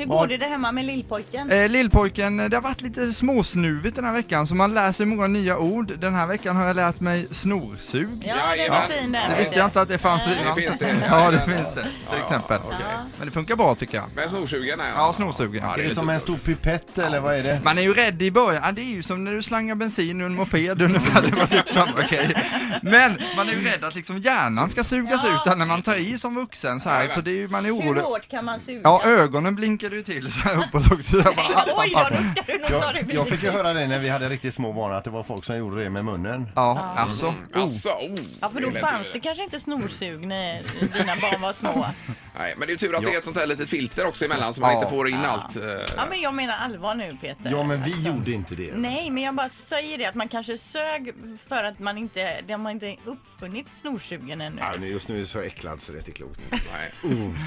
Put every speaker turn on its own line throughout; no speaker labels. Hur går det där hemma med lillpojken?
Eh, Lillpojken, det har varit lite småsnuvigt den här veckan så man lär sig många nya ord. Den här veckan har jag lärt mig snorsug.
Ja, den är
Ja,
fin
Det
den.
visste jag inte att det fanns
Nej.
innan.
Det finns det.
Ja, det finns det. Till
ja,
exempel.
okej.
Men det funkar bra tycker jag.
Men snorsugarna ja.
Ja, snorsugen.
Ja,
Är
det
är
det
lite
som en stor pipett eller vad är det?
Man är ju rädd i början, ja, det är ju som när du slangar bensin ur en moped ungefär, det var typ samma grej. Men man är ju rädd att liksom hjärnan ska sugas
Ja.
ut här när man tar i som vuxen så här, så det är ju, man är
Hur
orolig.
hårt kan man suga?
Ja, ögonen blinkade ju till så här uppåt också. Jag bara, app,
Oj
app,
då,
app.
då ska du nog ta
Jag,
det
jag fick ju
försiktigt.
höra det när vi hade riktigt små barn att det var folk som gjorde det med munnen.
Ja, alltså.
Alltså, oh,
Ja, för då
lät
fanns
ju-
det kanske inte snorsug när dina barn var små.
Nej, men det är ju tur att det är ett sånt här litet filter också emellan så man
Ja.
inte får in allt. eh,
Ja, men jag menar allvar nu, Peter.
Ja men vi gjorde inte det.
Nej, men jag bara säger det att man kanske sög för att man inte, de har inte uppfunnit snorsugen ännu.
Ja, nu- Just nu är jag så äcklad så det är inte klokt.
Nej.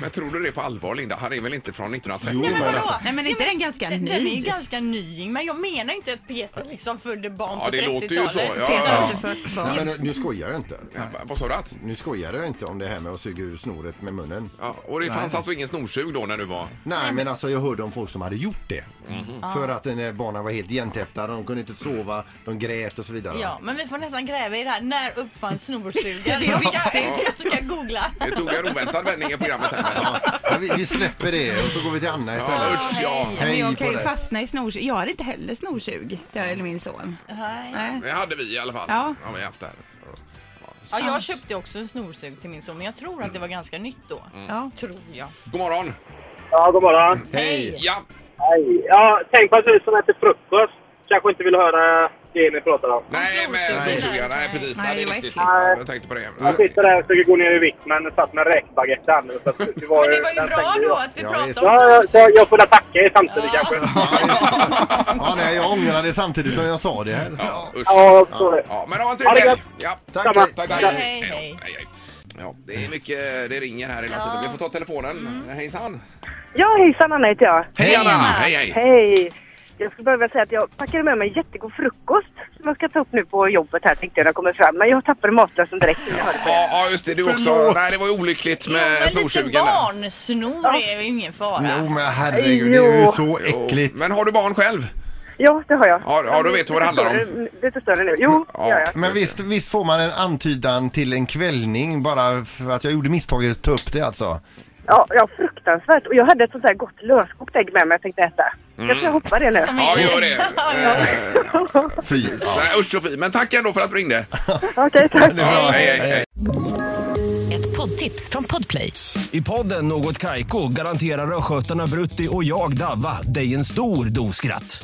Men tror du det på allvar, Linda? Han är väl inte från 1930?
Jo,
men
men
vadå?
alltså,
Nej men inte den ganska
Den den är ju
ny?
ganska ny, men jag menar inte att Peter liksom födde barn
Ja,
på
det
30-talet.
låter ju så. Ja,
Peter har
ja.
inte fött
nej,
barn.
men nu- nu skojar jag inte.
Ja, Vad sa du? att?
Nu skojar jag inte om det här med att suga ur snoret med munnen.
Ja, och det fanns alltså ingen snorsug då när du var...
Nej, men alltså jag hörde om folk som hade gjort det. Mm-hmm. För att den här barnen var helt igentäppta, de kunde inte sova, de grät och så vidare.
Ja, men vi får nästan gräva i det här. När uppfanns snorsugaren?
Ja, det är viktigt.
Jag ska googla.
Det tog en oväntad vändning i programmet här. men-
Ja, vi, vi släpper det och så går vi till Anna
Ja,
istället.
usch ja.
Hej
Men jag
på
kan ju
dig.
fastna i snorsug. Jag har inte heller snorsug, det har eller min son.
Nej.
Nej.
Det hade vi i alla fall.
Ja.
vi har haft det här.
Ja, jag köpte också en snorsug till min son, men jag tror att det var ganska nytt då.
Ja.
Tror jag.
God morgon!
Ja, god morgon.
Hej!
Ja,
Hej. Ja, tänk på att du som äter frukost kanske inte vill höra det ni pratar om.
nej men
snorsugare.
snorsugarna, nej precis.
Nej,
Nej, det är
det var
riktigt.
äckligt.
Ja, Jag tänkte på det.
Jag sitter där och försöker gå ner i vikt men satt med räkbaguette här nu. så att Det var,
Men det var ju bra då att vi
Ja,
pratade om
visst.
Ja, jag,
snorsug.
jag, jag får tacka er samtidigt kanske.
Ja, nej, jag ångrar det samtidigt som jag sa det här.
Ja, usch.
Ja, så är det.
Ja, men ha en
Ha
trevlig
det
helg!
gott.
Ja,
Tack,
Samma.
tack.
tack.
Ja, hej, hej.
Ja, det är mycket, det ringer här hela tiden. Vi får ta telefonen. Hejsan!
Ja, hejsan Anna heter jag.
Hej Anna! Hej hej!
Hej! Jag skulle bara vilja säga att jag packade med mig en jättegod frukost som jag ska ta upp nu på jobbet här tänkte jag när jag kommer fram. Men jag tappade matlösen direkt innan jag hörde på er.
Ja, ja, just det, du också.
Förlåt.
Nej, det var ju olyckligt
Ja,
med
men lite
snorsugen. där.
barnsnor är ju ingen fara.
Jo, men herregud, det är ju
Jo.
så
Jo,
äckligt.
Men har du barn själv?
Ja, det har jag.
Ja, ja, då vet du vad det handlar om.
Lite större- Lite större nu. Jo, det gör jag.
Men visst, visst får man en antydan till en kvällning bara för att jag gjorde misstaget att ta upp det alltså?
Ja, ja, fruktansvärt. Och jag hade ett sånt här gott löskokt ägg med mig jag tänkte äta. Jag
Mm.
tror jag hoppar det nu.
Ja, gör det. Eh,
Fy. Ja.
Nej, usch och fy. Men tack ändå för att du ringde.
Okej, tack.
Ja, hej, hej, hej.
Ett poddtips från Podplay.
I podden Något Kaiko garanterar östgötarna Brutti och jag, Davva, dig en stor dos skratt.